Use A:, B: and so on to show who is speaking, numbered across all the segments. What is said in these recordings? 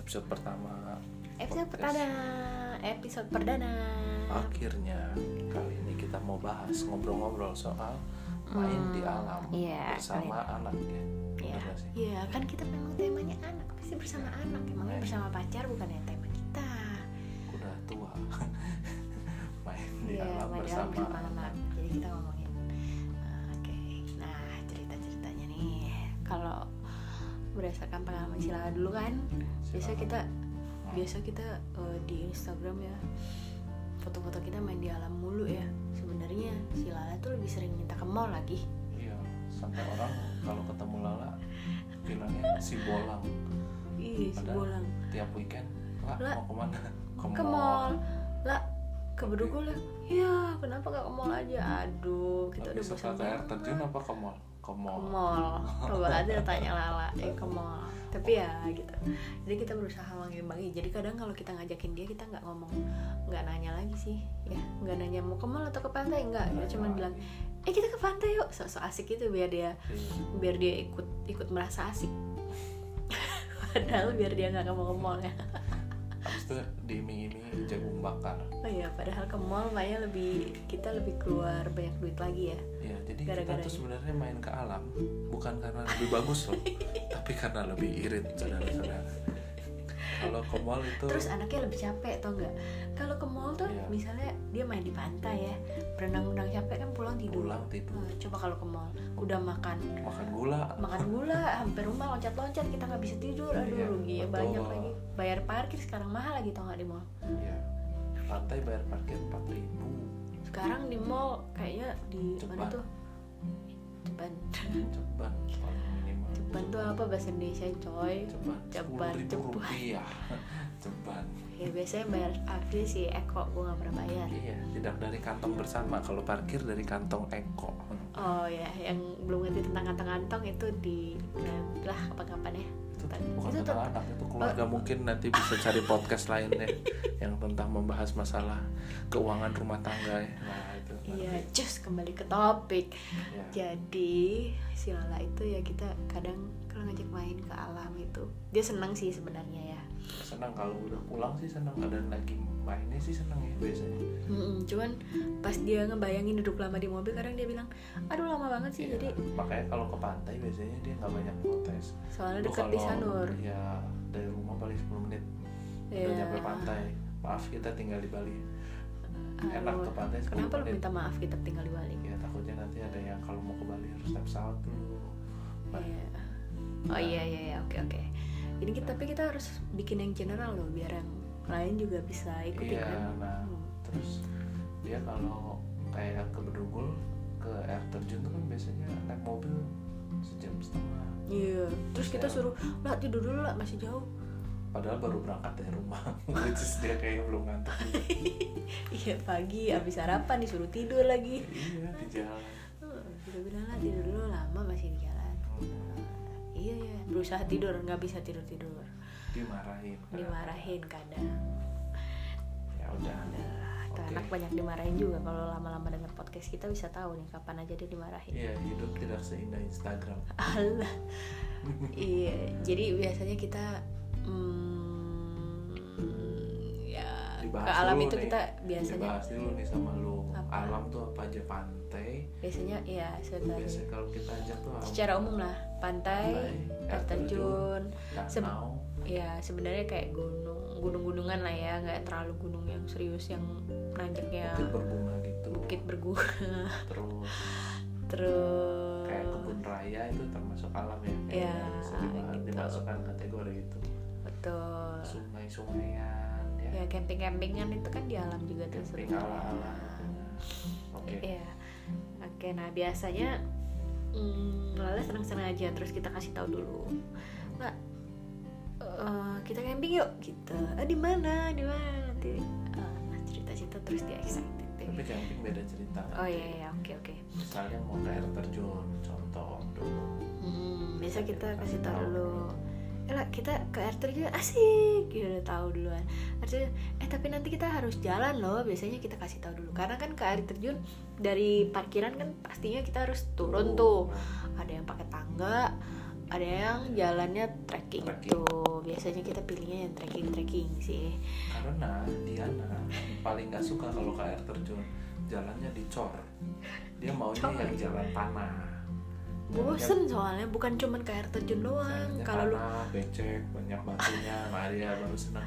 A: episode pertama
B: iya. Episode
A: podcast. Ah.
B: perdana, episode perdana.
A: Akhirnya kali ini kita mau bahas ngobrol-ngobrol soal main
B: Hmm,
A: di alam
B: iya,
A: bersama anak ya.
B: Iya.
A: Bener nggak sih?
B: Iya, kan kita memang temanya anak, pasti bersama anak. Emangnya
A: Iya.
B: bersama pacar bukan yang tema kita.
A: Udah tua. main di
B: Iya,
A: alam
B: main di
A: bersama anak.
B: Jadi kita ngomongin. eh, Oke, nah cerita ceritanya nih, kalau berdasarkan pengalaman Sila dulu kan, biasa
A: Silakan.
B: kita
A: Iya. Hmm.
B: biasa kita eh, di Instagram ya foto-foto kita main di alam mulu ya sebenarnya si Lala tuh lebih sering minta ke mall lagi
A: Iya, sampai orang kalau ketemu Lala bilangnya si bolang
B: Ih, si
A: Padahal-
B: bolang
A: tiap weekend. Lah,
B: La,
A: mau kemana?
B: ke mall lah ke bedugul ya ya kenapa gak ke mall aja aduh kita
A: Tapi
B: udah bosan
A: setelah ke air
B: banget
A: terjun apa ke mall? Ke
B: ke
A: mall.
B: mall coba aja tanya Lala ya ke mall tapi ya gitu jadi kita berusaha mengimbangi jadi kadang kalau kita ngajakin dia kita nggak ngomong nggak nanya lagi sih ya nggak nanya mau ke mall atau ke pantai nggak
A: Nah,
B: dia
A: nah,
B: cuma bilang eh kita ke pantai yuk sok-sok asik gitu biar dia
A: iya.
B: biar dia ikut ikut merasa asik padahal biar dia nggak mau ke mall ya
A: Habis itu diiming-imingi jagung bakar.
B: oh iya padahal ke mall kayaknya lebih kita lebih keluar banyak duit lagi ya
A: Ya, jadi
B: Gara-gara
A: kita tuh
B: ini.
A: sebenarnya main ke alam bukan karena lebih bagus loh, tapi karena lebih irit saudara-saudara. Kalau ke mall itu
B: terus anaknya lebih capek tau nggak kalau ke mall tuh
A: Iya.
B: misalnya dia main di pantai ya berenang-renang capek kan pulang tidur iya.
A: pulang tidur,
B: Nah, coba kalau ke mall udah makan
A: makan gula,
B: makan gula hampir rumah loncat-loncat kita nggak bisa tidur aduh
A: Iya,
B: rugi ya
A: betul.
B: banyak lagi bayar parkir sekarang mahal lagi tau nggak di mall
A: ya pantai bayar parkir 4000
B: sekarang di mall kayaknya di mana
A: Cepat.
B: tuh Ceban
A: ceban paling minimal.
B: Ceban tuh apa bahasa Indonesia coy
A: Ceban,
B: Ceban,
A: 10.000
B: ceban.
A: rupiah, ceban.
B: ya biasanya bayar Afi sih Eko gue nggak pernah bayar
A: Iya, tidak dari kantong bersama. Kalau parkir dari kantong Eko.
B: oh ya yang belum ngerti tentang kantong-kantong itu di nanti lah kapan-kapan ya
A: itu
B: Ceban.
A: bukan
B: Itu
A: tentang
B: tuh-
A: anak itu keluarga mungkin nanti bisa cari podcast lainnya yang tentang membahas masalah keuangan rumah tangga ya nah itu
B: iya just kembali ke topik
A: ya.
B: jadi si Lala itu ya kita kadang kalau ngajak main ke alam itu dia senang sih sebenarnya ya
A: senang kalau udah pulang sih senang dan lagi mainnya sih senang ya biasanya
B: Mm-mm, cuman pas dia ngebayangin duduk lama di mobil kadang dia bilang aduh lama banget sih
A: Iya,
B: jadi
A: makanya kalau ke pantai biasanya dia nggak banyak protes
B: soalnya
A: Lu
B: dekat di
A: kalau-
B: Sanur
A: iya dari rumah paling 10 menit udah
B: Iya.
A: nyampe pantai maaf kita tinggal di Bali enak Iya.
B: Aduh,
A: ke pantai 10
B: kenapa lu
A: menit.
B: minta maaf kita tinggal di Bali
A: ya takutnya nanti ada yang kalau mau ke Bali harus naik pesawat dulu Nah,
B: Iya. Oh iya iya iya, oke oke. Jadi kita tapi kita harus bikin yang general loh biar yang lain juga bisa ikut
A: iya
B: kan.
A: nah
B: Hmm.
A: terus dia kalau kayak ke Bedugul ke air terjun tuh kan biasanya naik mobil sejam setengah
B: Iya. Terus kita
A: Iya.
B: suruh lah tidur dulu lah masih jauh.
A: padahal baru berangkat dari rumah which is dia kayak belum ngantuk juga.
B: Iya pagi habis sarapan disuruh tidur lagi.
A: iya di jalan
B: Kita bilang lah
A: Iya.
B: tidur dulu lama masih di jalan. Ah, Iya ya berusaha tidur nggak bisa tidur tidur
A: dimarahin
B: dimarahin kadang.
A: ya udah
B: Udahlah, tuh
A: Oke.
B: anak banyak dimarahin juga kalau lama-lama denger podcast kita bisa tahu nih kapan aja dia dimarahin.
A: iya hidup tidak seindah Instagram
B: Allah. iya, jadi biasanya kita mm, ya
A: Dibahas
B: ke alam
A: dulu
B: itu
A: nih.
B: kita biasanya
A: dibahas dulu nih sama lu
B: Apa?
A: alam tuh apa aja pantai
B: biasanya ya sebenarnya
A: biasanya kalau kita ajak tuh alam.
B: secara umum lah pantai, air terjun, Seb-
A: danau
B: ya sebenarnya kayak gunung gunung-gunungan lah ya nggak terlalu gunung yang serius yang nanjaknya
A: bukit berbunga gitu
B: bukit bergua
A: terus
B: terus
A: kayak kebun raya itu termasuk alam ya
B: Ya,
A: kayaknya bisa dima-
B: gitu. Ah.
A: dimasukkan kategori itu
B: betul
A: sungai-sungaian ya,
B: ya camping-campingan itu kan di alam juga tuh
A: camping
B: sebenarnya.
A: ala-ala gitu ya. oke
B: Iya. Oke, nah biasanya mm, Lala senang-senang aja terus kita kasih tahu dulu. Nah, eh, kita camping yuk gitu. Ah, di mana? Di mana nanti? eh, nah, cerita-cerita terus dia excited deh.
A: tapi camping beda cerita kan.
B: Oh iya iya, oke oke.
A: misalnya mau ke air terjun contoh dulu
B: Hmm, biasa kita kasih tahu dulu. "Eh, lah kita ke air terjun asik gitu udah tahu duluan air terjun, eh tapi nanti kita harus jalan loh biasanya kita kasih tahu dulu karena kan ke air terjun dari parkiran kan pastinya kita harus turun tuh ada yang pakai tangga ada yang jalannya trekking,
A: Trekking.
B: tuh biasanya kita pilihnya yang trekking trekking sih
A: Nah, karena Diana paling nggak suka kalau ke air terjun jalannya dicor dia maunya
B: Dicor.
A: yang jalan tanah
B: bosen soalnya bukan cuman ke air terjun doang Ah, kalau lu
A: tanah, becek banyak batunya nah dia baru senang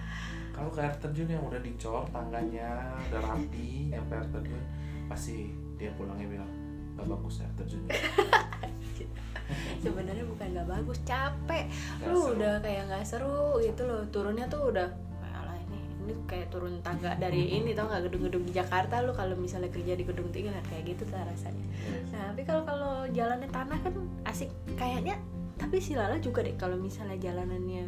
A: kalau ke air terjun yang udah dicor tangganya udah rapi nyampe air terjun pasti dia pulangnya bilang nggak bagus air terjunnya
B: sebenarnya bukan nggak bagus capek
A: Nggak
B: lu
A: seru."
B: udah kayak nggak seru gitu loh turunnya tuh udah "Alah, ini ini kayak turun tangga dari ini tau nggak gedung-gedung di Jakarta lu kalau misalnya kerja di gedung tinggi kan kayak gitu tuh rasanya
A: Yes.
B: nah tapi kalau kalau jalanan tanah kan asik kayaknya tapi si Lala juga deh kalau misalnya jalanannya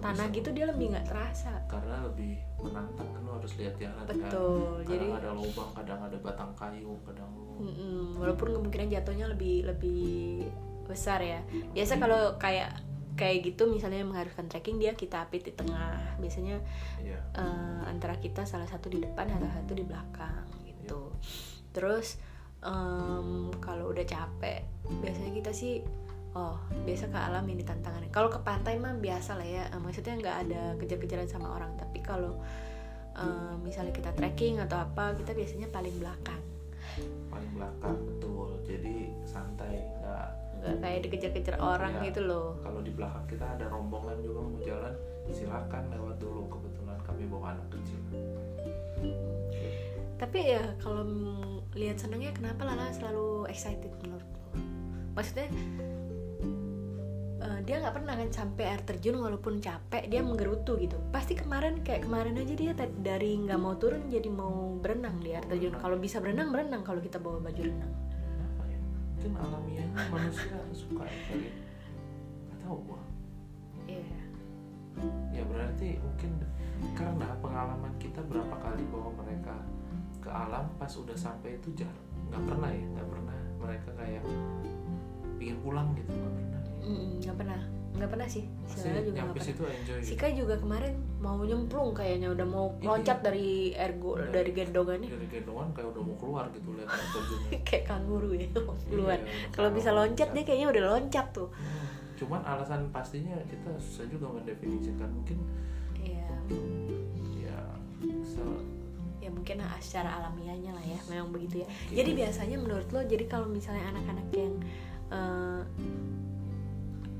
B: tanah
A: Bisa.
B: gitu dia lebih nggak terasa
A: karena lebih menantang kan lu harus lihat jalan kan
B: betul jadi Hmm.
A: kadang ada lubang kadang ada batang kayu kadang lu
B: Mm-mm, walaupun kemungkinan jatuhnya lebih lebih besar ya biasa
A: Hmm.
B: kalau kayak kayak gitu misalnya yang mengharuskan trekking dia kita apit di tengah biasanya
A: ya
B: eh, antara kita salah satu di depan salah satu di belakang gitu terus em, kalau udah capek biasanya kita sih oh biasa ke alam ini tantangan kalau ke pantai mah biasa lah ya Eh, maksudnya nggak ada kejar-kejaran sama orang tapi kalau eh, misalnya kita trekking atau apa kita biasanya paling belakang
A: paling belakang betul jadi santai nggak
B: nggak kayak dikejar-kejar orang
A: Iya.
B: gitu loh
A: kalau di belakang kita ada rombongan juga mau jalan silakan lewat dulu kebetulan kami bawa anak kecil
B: tapi ya kalau mm, lihat senangnya kenapa Lala selalu excited menurut lo maksudnya eh, dia nggak pernah kan sampai air terjun walaupun capek dia menggerutu gitu pasti kemarin kayak kemarin aja dia ta- dari nggak mau turun jadi mau berenang di air terjun kalau bisa berenang berenang kalau kita bawa baju renang
A: kenapa ya mungkin alamiahnya manusia suka ya kali ya. nggak tahu gua
B: Iya
A: ya berarti mungkin karena pengalaman kita berapa kali bawa mereka ke alam pas udah sampai itu jarang nggak pernah ya nggak pernah mereka kayak pingin pulang gitu nggak pernah
B: Mm-mm, nggak pernah nggak pernah sih si
A: pasti
B: Lala juga nggak
A: nyampe
B: pernah
A: situ enjoy gitu.
B: Sika juga kemarin mau nyemplung kayaknya udah mau
A: Iya.
B: loncat dari ergo
A: Dari-
B: dari gendongannya
A: dari gendongan kayak udah mau keluar gitu lihat air terjunnya
B: kayak kanguru ya mau keluar
A: Iya, udah
B: kalau bisa loncat dia
A: loncat.
B: kayaknya udah loncat tuh
A: Hmm, cuman alasan pastinya kita susah juga mendefinisikan mungkin
B: ya
A: ya se-
B: ya mungkin secara alamiahnya lah ya memang begitu ya
A: mungkin
B: jadi biasanya menurut lo jadi kalau misalnya anak-anak yang eh,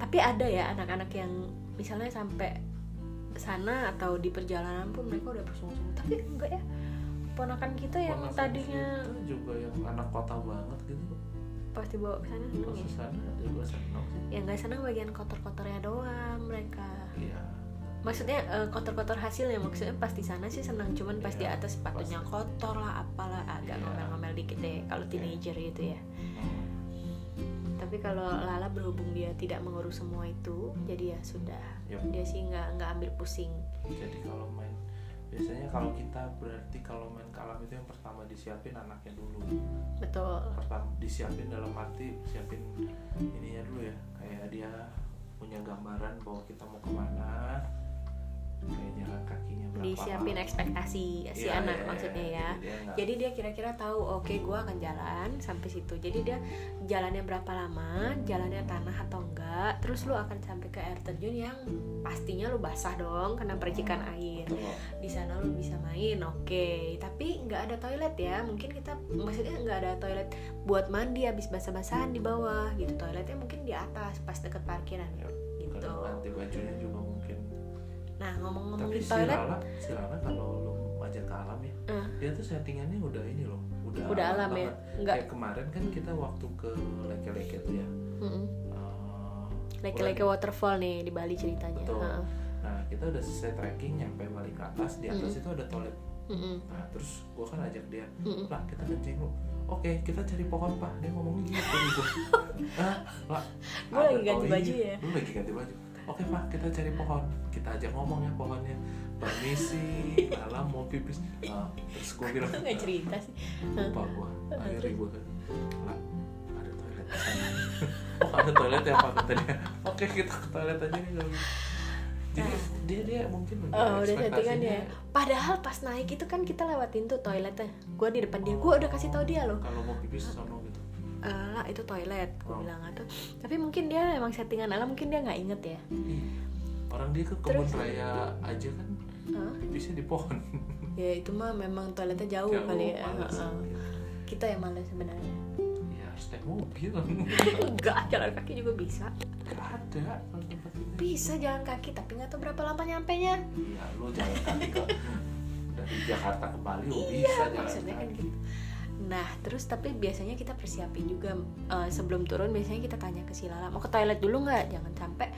B: tapi ada ya anak-anak yang misalnya sampai sana atau di perjalanan pun mereka udah bersungguh-sungguh tapi enggak ya ponakan kita yang
A: ponakan
B: tadinya
A: kita juga yang anak kota banget gitu
B: pasti bawa ke sana seneng
A: pas
B: ya
A: sana juga senang sih
B: yang nggak senang bagian kotor-kotornya doang mereka
A: iya
B: maksudnya eh, kotor-kotor hasilnya maksudnya pas di sana sih senang cuman pas di
A: Iya,
B: atas sepatunya
A: pasti.
B: kotor lah apalah agak
A: Iya.
B: ngomel-ngomel dikit deh kalau
A: Iya.
B: teenager gitu ya
A: Hmm,
B: tapi kalau Lala berhubung dia tidak mengurus semua itu jadi ya sudah
A: Yap.
B: dia sih nggak nggak ambil pusing
A: jadi kalau main biasanya kalau kita berarti kalau main ke alam itu yang pertama disiapin anaknya dulu
B: betul
A: pertama disiapin dalam arti siapin ininya dulu ya kayak dia punya gambaran bahwa kita mau kemana kayak jalan kakinya berapa
B: disiapin
A: lama.
B: ekspektasi si
A: Iya,
B: anak
A: iya,
B: maksudnya
A: iya.
B: ya
A: Jadi dia nggak-
B: jadi dia kira-kira tahu oke gua akan jalan sampai situ jadi dia jalannya berapa lama jalannya tanah atau enggak terus lu akan sampai ke air terjun yang pastinya lu basah dong kena percikan air
A: Betul.
B: di sana lu bisa main oke tapi nggak ada toilet ya mungkin kita maksudnya nggak ada toilet buat mandi habis basah-basahan di bawah gitu toiletnya mungkin di atas pas deket parkiran
A: Yap. Iya,
B: gitu
A: Kadang ganti bajunya juga mungkin
B: nah ngomong-ngomong
A: tapi ah,
B: di
A: si
B: toilet
A: Lala si Lala kalau lu ajak ke alam ya
B: Eh.
A: dia tuh settingannya udah ini loh udah,
B: udah alam ya
A: banget.
B: nggak
A: kayak kemarin kan kita waktu ke leke-leke tuh ya
B: mm-mm.
A: eh,
B: leke-leke waterfall nih di Bali ceritanya
A: Betul.
B: Heeh.
A: nah kita udah selesai trekking nyampe balik ke atas di atas itu ada toilet
B: Mm-mm.
A: nah terus gua kan ajak dia
B: Mm-mm.
A: lah kita kencing lu oke kita cari pohon pak dia ngomong gitu gitu ah lah
B: Gua
A: ada
B: lagi ganti
A: toilet.
B: baju ya.
A: lu lagi ganti baju oke pak kita cari pohon kita ajak ngomong ya pohonnya permisi lala mau pipis Ah, terus gua bilang
B: Lu nggak cerita sih
A: lupa gua akhirnya gua kan lah ada toilet di sana." oh ada toilet ya pak katanya oke kita ke toilet aja nih kalau gitu. jadi
B: Nah.
A: dia dia mungkin
B: Oh, udah
A: ekspektasinya-
B: settingan ya. Padahal pas naik itu kan kita lewatin tuh toiletnya. Gua di depan dia. Gua udah kasih tau dia loh.
A: kalau mau pipis sono gitu
B: "Eh, lah itu toilet gue
A: Oh.
B: bilang atau tapi mungkin dia emang settingan alam mungkin dia nggak inget ya
A: Ih, orang dia ke kebun
B: Terus?
A: raya aja kan
B: Hah?
A: pipisnya di pohon
B: ya itu mah memang toiletnya jauh
A: Jauh,
B: kali ya
A: males.
B: Heeh. kita yang malas sebenarnya
A: ya harus naik mobil
B: enggak jalan kaki juga bisa
A: gak ada kalau tempat ini
B: bisa jalan kaki tapi nggak tahu berapa lama nyampe nya
A: iya lu jalan kaki ke dari Jakarta ke Bali lu bisa jalan
B: Iya, maksudnya kan
A: kaki
B: gitu nah terus tapi biasanya kita persiapin juga eh, sebelum turun biasanya kita tanya ke si Lala mau ke toilet dulu nggak jangan sampai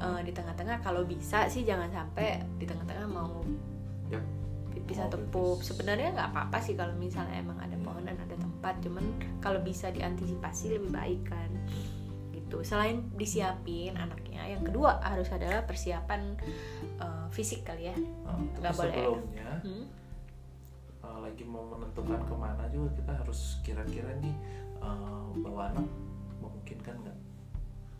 B: eh, di tengah-tengah kalau bisa sih jangan sampai di tengah-tengah mau
A: Ya.
B: pipis
A: Mau
B: atau
A: pipis.
B: pup sebenarnya nggak apa-apa sih kalau misalnya emang ada pohon dan ada tempat cuman kalau bisa diantisipasi lebih baik kan gitu selain disiapin anaknya yang kedua harus adalah persiapan eh, fisik kali ya
A: Nah,
B: Nggak
A: terus
B: boleh.
A: sebelumnya
B: Hmm?
A: eh, lagi mau menentukan kemana juga kita harus kira-kira nih eh, bawa anak memungkinkan nggak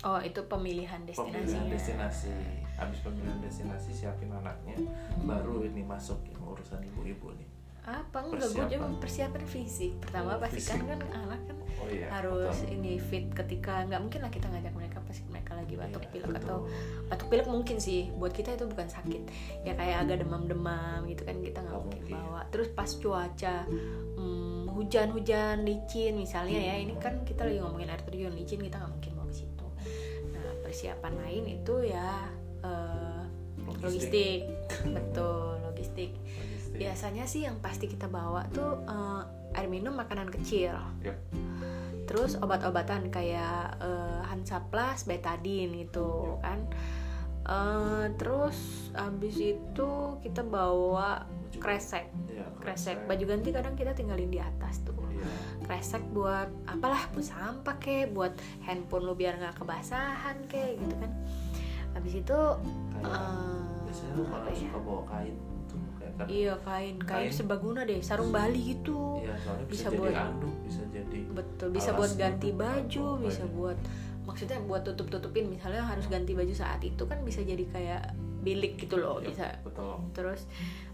B: oh itu pemilihan Hmm. destinasinya
A: pemilihan destinasi habis pemilihan destinasi siapin anaknya baru ini masuk yang urusan ibu-ibu nih
B: apa enggak gue cuma persiapan fisik
A: Oh,
B: pertama
A: fisik.
B: pastikan kan anak kan
A: oh iya
B: harus ini fit ketika nggak mungkin lah kita ngajak mereka pas mereka lagi
A: Iya, ya.
B: batuk pilek atau batuk pilek mungkin sih buat kita itu bukan sakit ya kayak agak demam-demam gitu kan kita nggak
A: Nggak
B: mungkin
A: mungkin.
B: bawa terus pas cuaca hmm, hujan-hujan licin misalnya ya ini kan kita lagi ngomongin air terjun licin kita nggak mungkin bawa ke situ nah persiapan lain itu ya eh, logistik betul logistik
A: Logistik.
B: biasanya sih yang pasti kita bawa tuh eh, air minum makanan kecil
A: Yep.
B: terus obat-obatan kayak eh, Hansaplast, betadine gitu
A: Ya.
B: kan Eh, terus abis itu kita bawa
A: Baju-
B: kresek
A: Iya,
B: kresek baju ganti kadang kita tinggalin di atas tuh
A: Iya.
B: kresek buat apalah buat sampah kek buat handphone lu biar nggak kebasahan kek gitu kan abis itu
A: Kayak-
B: eh,
A: biasanya lu
B: apa
A: kalau
B: ya?
A: suka bawa kain tuh kayak kan
B: iya kain kain,
A: Kain.
B: sebaguna deh sarung Bali gitu
A: Iya, soalnya bisa,
B: Bisa
A: jadi
B: buat-
A: anduk bisa jadi
B: Betul, bisa
A: Alas
B: buat
A: gitu,
B: ganti
A: buat
B: baju,
A: bawa
B: bisa
A: baju.
B: buat maksudnya buat tutup-tutupin misalnya harus ganti baju saat itu kan bisa jadi kayak bilik gitu loh,
A: Iya,
B: bisa.
A: betul
B: Terus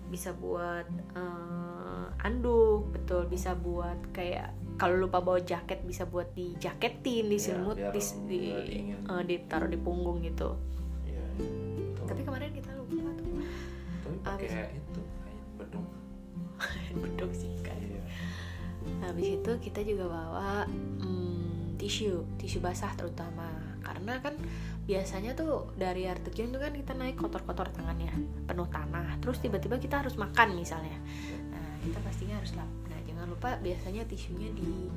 B: bisa buat eh, anduk, betul, bisa buat kayak kalau lupa bawa jaket bisa buat dijaketin, diselimut,
A: Iya, biar
B: dis- di
A: nggak dingin.
B: eh, ditaruh di punggung gitu.
A: iya betul
B: Tapi eh, kemarin kita lupa tuh.
A: tapi pakai
B: abis-
A: itu kain bedung
B: Bedok sih kan.
A: iya
B: Habis itu kita juga bawa mm, tisu, tisu basah terutama karena kan biasanya tuh dari air terjun tuh kan kita naik kotor-kotor tangannya penuh tanah terus tiba-tiba kita harus makan misalnya nah kita pastinya harus lap nah jangan lupa biasanya tisunya di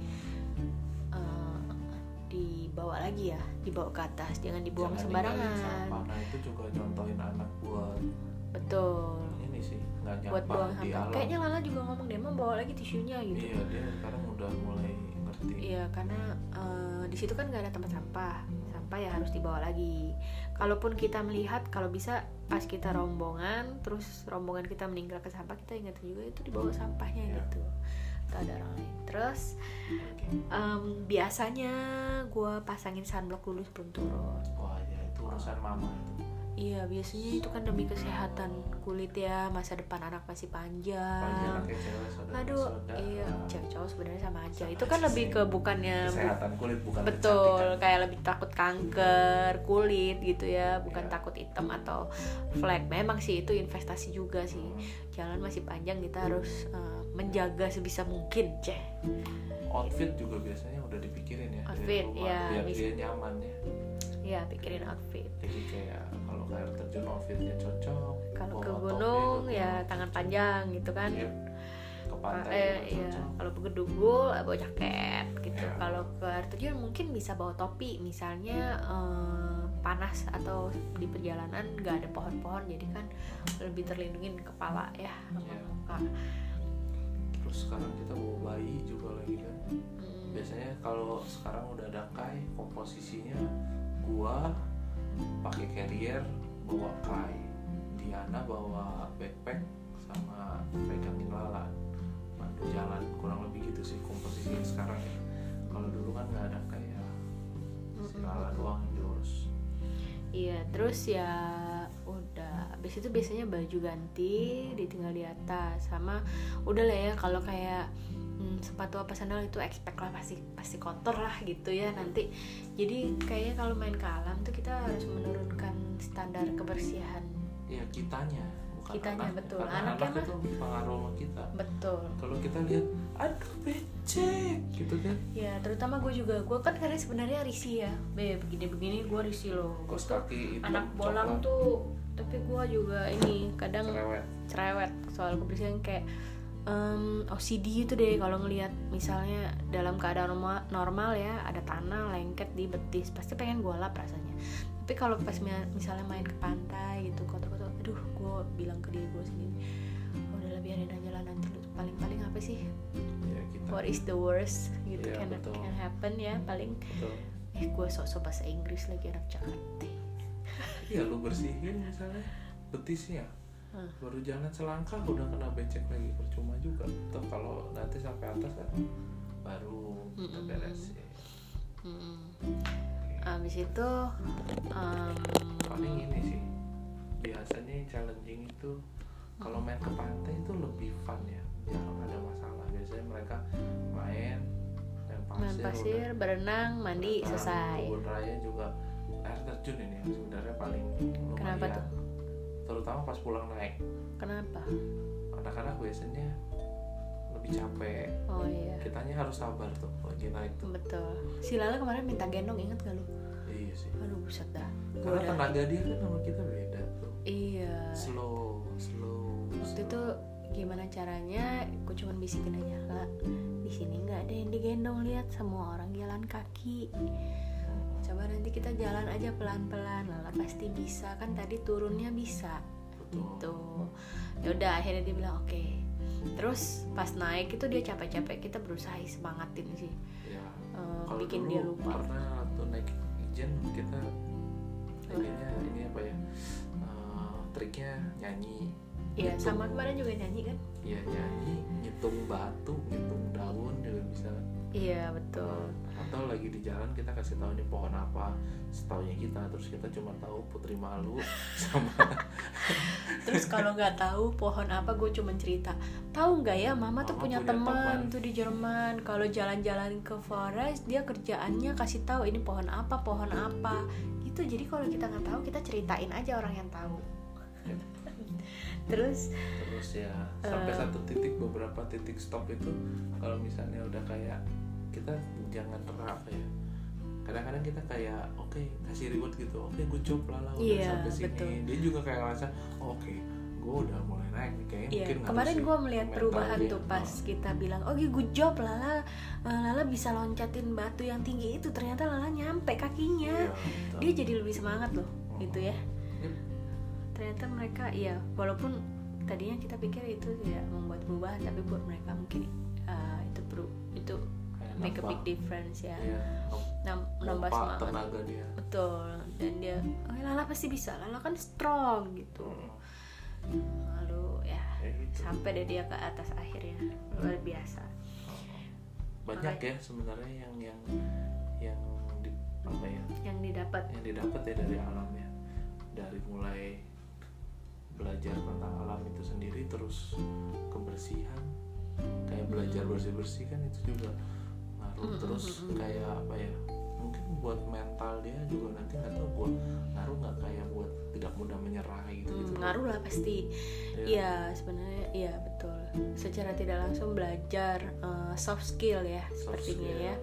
B: eh, dibawa lagi ya dibawa ke atas jangan dibuang
A: Jangan
B: sembarangan
A: ninggalin sampah. nah itu juga contohin anak buat
B: betul
A: ini sih nggak
B: buat
A: nyampah
B: buang
A: di
B: sampah
A: alam
B: kayaknya gitu. Lala juga ngomong dia mau bawa lagi tisunya gitu
A: iya dia sekarang udah mulai ngerti
B: Iya karena eh, di situ kan nggak ada tempat sampah, sampah ya harus dibawa lagi. Kalaupun kita melihat, kalau bisa pas kita rombongan, terus rombongan kita meninggal ke sampah, kita ingat juga itu dibawa sampahnya
A: Iya.
B: gitu. Atau ada orang lain. Terus em, biasanya gue pasangin sunblock dulu sebelum turun.
A: wah ya itu urusan mama itu
B: Iya biasanya itu kan demi kesehatan kulit ya, masa depan anak masih
A: apalagi
B: panjang.
A: anaknya cewek saudara
B: Ah. Aduh,
A: saudara
B: iya cewek-cewek sebenarnya sama aja.
A: Sama
B: Itu kan
A: aja
B: lebih
A: sih.
B: ke bukannya
A: kesehatan kulit bukan
B: Betul,
A: kecantikan.
B: kayak lebih takut kanker kulit gitu ya, bukan
A: Iya.
B: takut hitam atau flek. Memang sih itu investasi juga
A: Gitu.
B: sih. Jalan masih panjang, kita harus eh, menjaga sebisa mungkin, ceh.
A: outfit juga biasanya udah dipikirin ya dari
B: Outfit,
A: rumah,
B: ya,
A: biar
B: bisa.
A: dia nyaman ya
B: Ya, pikirin outfit.
A: jadi kayak kalau ke air terjun outfitnya cocok
B: Kalau
A: bawa
B: ke
A: topeng,
B: gunung
A: bawa-
B: ya tangan panjang gitu kan.
A: Iya. ke pantai
B: Eh,
A: juga
B: iya.
A: cocok
B: Kalau ke Gedugul eh, bawa jaket gitu.
A: Iya.
B: Kalau ke air terjun mungkin bisa bawa topi, misalnya eh, panas atau di perjalanan nggak ada pohon-pohon, jadi kan lebih terlindungin kepala ya sama
A: Iya.
B: muka.
A: terus sekarang kita bawa bayi juga lagi kan
B: Hmm,
A: biasanya kalau sekarang udah ada kai komposisinya gua pakai carrier bawa kai Diana bawa backpack sama pegangin lala mandu jalan kurang lebih gitu sih komposisinya sekarang ya kalau dulu kan nggak ada kayak si lala doang yang diurus
B: Iya, terus ya udah. Habis itu Hmm. biasanya baju ganti ditinggal di atas sama udah lah ya kalau kayak hmm, sepatu apa sandal itu expect lah pasti pasti kotor lah gitu ya nanti jadi kayaknya kalau main ke alam tuh kita harus menurunkan standar kebersihan
A: ya kitanya bukan
B: Kitanya,
A: anaknya.
B: betul.
A: karena
B: Anaknya
A: anak itu pengaruh sama kita
B: betul
A: kalau kita lihat aduh becek gitu kan
B: ya terutama gue juga gue kan karena sebenarnya risih ya be begini begini gue risih loh
A: kos kaki itu
B: anak bolang tuh tapi gue juga ini kadang
A: cerewet
B: cerewet soal kebersihan kayak em, OCD itu gitu deh kalau ngelihat misalnya dalam keadaan norma- normal ya ada tanah lengket di betis pasti pengen gue lap rasanya tapi kalau pas mi- misalnya main ke pantai gitu kotor-kotor aduh gue bilang ke diri gue sendiri "Oh, udah lah, biarin aja lah nanti lu- paling-paling apa sih
A: ya kita
B: what is the worst gitu
A: Iya,
B: can
A: betul.
B: can happen ya paling
A: betul
B: eh gue sok-sok bahasa Inggris lagi anak Jakarta
A: ya lu bersihin misalnya betisnya
B: Hmm.
A: baru jalan selangkah udah kena becek lagi percuma juga toh kalau nanti sampai atas kan baru ya. kita
B: Mm-mm.
A: beresin
B: Hmm. abis itu em,
A: paling ini sih biasanya yang challenging itu kalau main ke pantai itu lebih fun ya jarang ada masalah biasanya mereka main main pasir,
B: main pasir,
A: udah
B: berenang, mandi,
A: berenang.
B: selesai.
A: kebun raya juga air terjun ini yang sebenarnya paling lumayan
B: Kenapa tuh?
A: terutama pas pulang naik
B: Kenapa?
A: anak-anak biasanya lebih capek
B: Oh iya,
A: kitanya harus sabar tuh lagi naik tuh
B: betul. Si Lala kemarin minta gendong, inget gak lu?
A: iya sih
B: Aduh, buset dah.
A: karena
B: Gua udah-
A: tenaga dia kan sama kita beda tuh
B: Iya.
A: slow slow
B: Waktu itu gimana caranya? Gue cuman bisikin aja, La, di sini nggak ada yang digendong lihat semua orang jalan kaki. Coba nanti kita jalan aja pelan-pelan, Lala pasti bisa kan tadi turunnya bisa. gitu ya udah akhirnya dia bilang oke terus pas naik itu dia capek-capek kita berusaha semangatin sih
A: ya
B: Eh,
A: kalau
B: bikin
A: dulu
B: dia lupa
A: pernah waktu naik ijen kita ininya ini apa ya eh, triknya nyanyi
B: Iya
A: gitu.
B: sama kemarin juga nyanyi kan
A: ya nyanyi ngitung batu ngitung daun juga bisa
B: iya betul
A: atau lagi di jalan kita kasih tahu ini pohon apa setahunya kita terus kita cuma tahu putri malu sama
B: terus kalau nggak tahu pohon apa gue cuman cerita tahu nggak ya mama
A: Mama
B: tuh punya,
A: punya
B: teman
A: teman."
B: tuh di Jerman kalau jalan-jalan ke forest dia kerjaannya kasih tahu ini pohon apa pohon apa gitu jadi kalau kita nggak tahu kita ceritain aja orang yang tahu
A: Yep.
B: terus
A: terus ya
B: Eh.
A: sampai satu titik beberapa titik stop itu kalau misalnya udah kayak kita jangan terapa ya kadang-kadang kita kayak oke kasih reward gitu oke gue job lah lah, udah
B: Iya,
A: sampai sini
B: betul.
A: dia juga kayak ngerasa "Oh, oke gue udah mulai naik nih kayaknya
B: Iya,
A: mungkin harus
B: kemarin
A: sih
B: gue melihat
A: mental
B: perubahan
A: dia." Oh,
B: tuh pas kita bilang, oh good job Lala, Eh, Lala bisa loncatin batu yang tinggi itu ternyata Lala nyampe
A: Iya,
B: kakinya,
A: betul.
B: dia jadi lebih semangat loh, gitu ya.
A: Yep.
B: Ternyata mereka, iya, walaupun tadinya kita pikir itu tidak membuat perubahan, tapi buat mereka mungkin eh, itu perlu itu
A: Kayak
B: make a
A: nambah.
B: big difference ya,
A: Iya,
B: Nam-
A: nambah
B: nambah semangat.
A: tenaga dia
B: Betul, dan dia, oh Lala pasti bisa, Lala kan strong gitu.
A: Mm,
B: Lalu ya
A: kayak gitu.
B: sampai deh dia ke atas akhirnya luar biasa
A: banyak ya sebenarnya yang yang yang di, apa ya
B: yang didapat
A: yang didapat ya dari alam ya dari mulai belajar tentang alam itu sendiri terus kebersihan kayak belajar bersih bersih kan itu juga ngaruh
B: Mm,
A: terus
B: mm, mm.
A: kayak apa ya mungkin buat mental dia juga nanti nggak tahu buat ngaruh nggak kayak buat tidak mudah menyerah gitu gitu
B: Hmm, ngaruh lah pasti iya sebenarnya iya betul secara tidak langsung belajar eh, soft skill ya sepertinya ya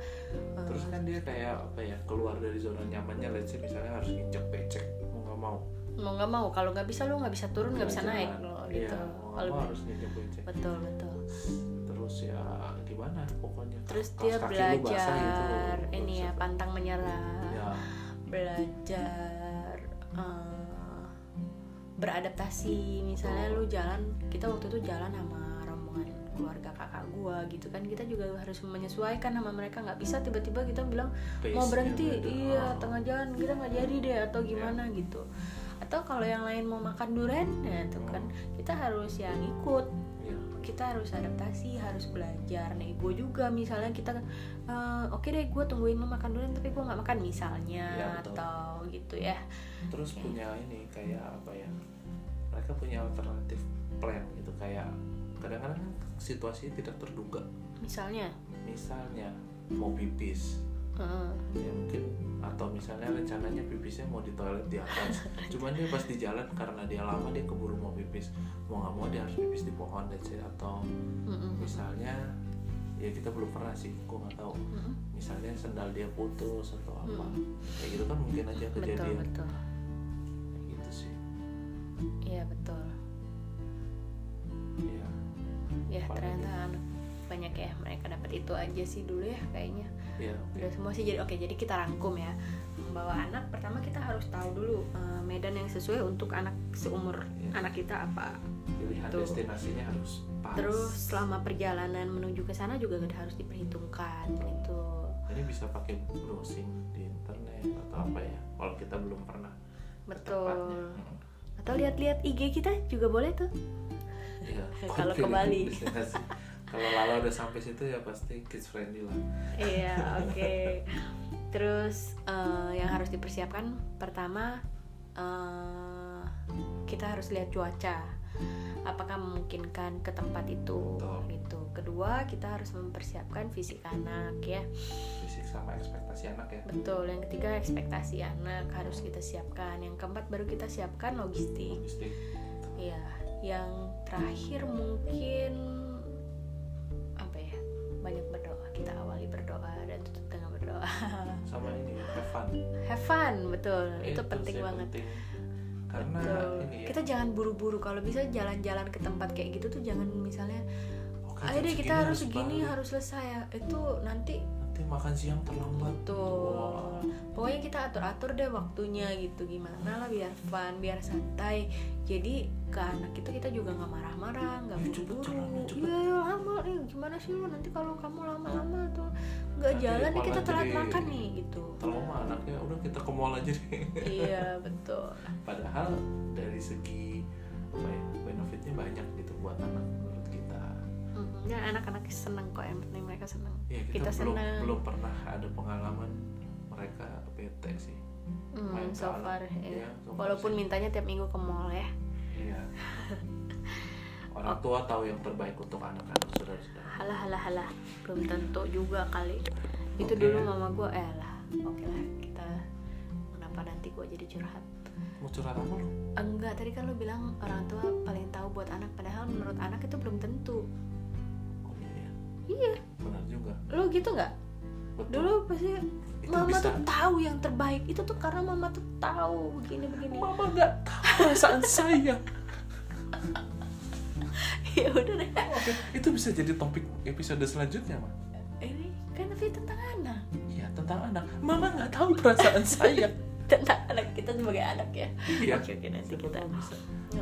B: Eh,
A: terus kan dia kayak apa ya keluar dari zona nyamannya let's say misalnya harus injek becek mau nggak mau
B: mau nggak mau kalau nggak bisa lo nggak bisa turun nggak bisa naik
A: Jalan.
B: lo
A: Iya,
B: gitu
A: mau nggak
B: kalau
A: mau harus injek becek
B: betul betul
A: terus ya gimana pokoknya
B: terus
A: kaos
B: dia
A: kaki lu basah gitu,
B: belajar ini
A: terus
B: ya
A: apa-
B: pantang menyerah
A: ya
B: belajar eh, beradaptasi misalnya lu jalan kita waktu itu jalan sama rombongan keluarga kakak gua gitu kan kita juga harus menyesuaikan sama mereka nggak bisa tiba-tiba kita bilang
A: pace-nya
B: mau berhenti
A: beda. Iya.
B: iya
A: Ah,
B: tengah jalan kita nggak jadi deh atau gimana gitu atau kalau yang lain mau makan durian nah itu kan
A: Oh.
B: kita harus yang ikut
A: iya.
B: kita harus adaptasi harus belajar nih gue juga misalnya kita eh, oke deh gue tungguin lo makan dulu tapi gue nggak makan misalnya
A: Ya, betul.
B: atau gitu ya
A: terus punya ini kayak apa ya mereka punya alternatif plan gitu kayak kadang-kadang kan situasi tidak terduga
B: misalnya
A: misalnya mau pipis
B: Heeh.
A: ya mungkin atau misalnya rencananya pipisnya mau di toilet di atas cuman dia pas di jalan karena dia lama dia keburu mau pipis mau nggak mau dia harus pipis di pohon dan atau
B: Mm-mm.
A: misalnya ya kita belum pernah sih gua nggak tahu
B: Mm-mm.
A: misalnya sendal dia putus atau apa
B: Hmm.
A: kayak gitu kan mungkin aja
B: betul
A: kejadian
B: betul
A: Kayak gitu sih
B: iya betul
A: ya
B: ya
A: Apalagi?
B: ternyata anak banyak ya mereka dapat itu aja sih dulu ya kayaknya
A: ya oke
B: udah semua sih jadi oke jadi kita rangkum ya membawa anak pertama kita harus tahu dulu eh, medan yang sesuai untuk anak seumur
A: Iya.
B: anak kita apa
A: pilihan
B: Tuh.
A: destinasinya harus pas
B: terus selama perjalanan menuju ke sana juga harus diperhitungkan gitu
A: ini bisa pakai browsing di internet atau apa ya kalau kita belum pernah ke tempatnya.
B: betul
A: Hmm.
B: atau lihat-lihat IG kita juga boleh tuh
A: Iya,
B: Kalau
A: pilihan
B: kembali.
A: destinasi. kalau Lala udah sampai situ ya pasti kids friendly lah
B: Iya, oke. Terus eh, yang harus dipersiapkan pertama eh, kita harus lihat cuaca. Apakah memungkinkan ke tempat itu
A: Betul.
B: gitu. Kedua, kita harus mempersiapkan fisik anak ya.
A: fisik sama ekspektasi anak ya
B: Betul. Yang ketiga, ekspektasi anak harus kita siapkan. Yang keempat baru kita siapkan logistik.
A: logistik
B: Iya. Yang terakhir mungkin apa ya? Banyak berdoa. Kita awali berdoa dan tutup dengan berdoa.
A: sama ini have fun
B: Have fun, betul. itu
A: sih
B: penting banget.
A: penting. karena
B: Betul.
A: ini ya
B: Kita jangan buru-buru. Kalau bisa jalan-jalan ke tempat kayak gitu tuh jangan misalnya,
A: oke, jam
B: ayo deh
A: segini
B: kita harus segini
A: balik.
B: harus selesai. Ya, Itu nanti
A: nanti makan siang terlambat
B: betul.
A: Wah.
B: Pokoknya kita atur-atur deh waktunya gitu gimana lah biar fun, biar santai. Jadi ke anak itu kita juga nggak marah-marah, nggak
A: Ayo cepet
B: buru-buru.
A: jalan, ayo cepet.
B: Iya, iya, lama nih. Gimana sih lu nanti kalau kamu lama-lama tuh nggak
A: Nanti
B: jalan nih
A: malah
B: kita telat
A: jadi-
B: makan nih gitu.
A: kalau mah anaknya udah kita ke mall aja deh
B: iya betul.
A: padahal dari segi apa ya benefitnya banyak gitu buat anak menurut kita
B: Mm, Ya anak-anak seneng kok yang penting mereka seneng.
A: ya
B: Kita
A: kita, belum
B: senang.
A: belum pernah ada pengalaman mereka bete sih
B: Hmm,
A: Main ke
B: so
A: alam.
B: far, ya.
A: Ya, so far
B: Walaupun
A: sih.
B: mintanya tiap minggu ke mall ya.
A: iya
B: Oh.
A: orang tua tahu yang terbaik untuk anak-anak saudara-saudara
B: Halah halah halah. Belum tentu juga kali. Itu
A: Oke.
B: dulu mama gue eh lah. Oke lah kita kenapa nanti gue jadi curhat.
A: mau curhat apa lu
B: Enggak, tadi kan lo bilang orang tua paling tahu buat anak padahal menurut anak itu belum tentu.
A: Oh, iya, iya.
B: Iya,
A: benar juga
B: lo gitu nggak?
A: Betul.
B: Dulu pasti
A: Itu
B: mama
A: bisa.
B: tuh tahu yang terbaik. Itu tuh karena mama tuh tahu begini begini.
A: mama nggak tahu perasaan saya
B: ya udah deh.
A: oke itu bisa jadi topik episode selanjutnya mah
B: Ini kan tapi tentang anak.
A: Iya tentang anak mama nggak tahu perasaan saya
B: tentang anak kita sebagai anak ya.
A: iya
B: Oke oke nanti
A: Siapa
B: kita. ya,
A: tahu bisa.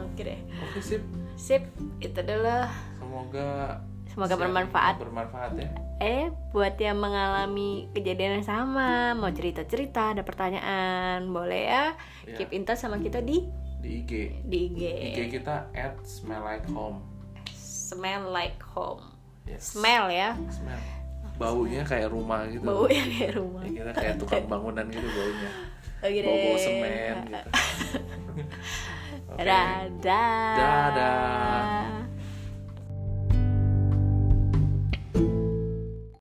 B: Oke deh.
A: oke sip
B: Sip, itu adalah
A: semoga
B: semoga
A: siap-
B: bermanfaat.
A: bermanfaat ya
B: Eh, buat yang mengalami kejadian yang sama, mau cerita-cerita, ada pertanyaan, boleh ya?
A: Iya.
B: Keep Eh. in touch sama kita di
A: di IG
B: di IG.
A: IG kita at smell like home
B: Smell like home.
A: Yes.
B: Smell ya.
A: Smell. baunya kayak rumah gitu
B: Bau yang kayak rumah.
A: Ya, kita kayak tukang bangunan gitu baunya
B: Oke deh.
A: bau-bau semen gitu Oke.
B: Dadah.
A: Dadah.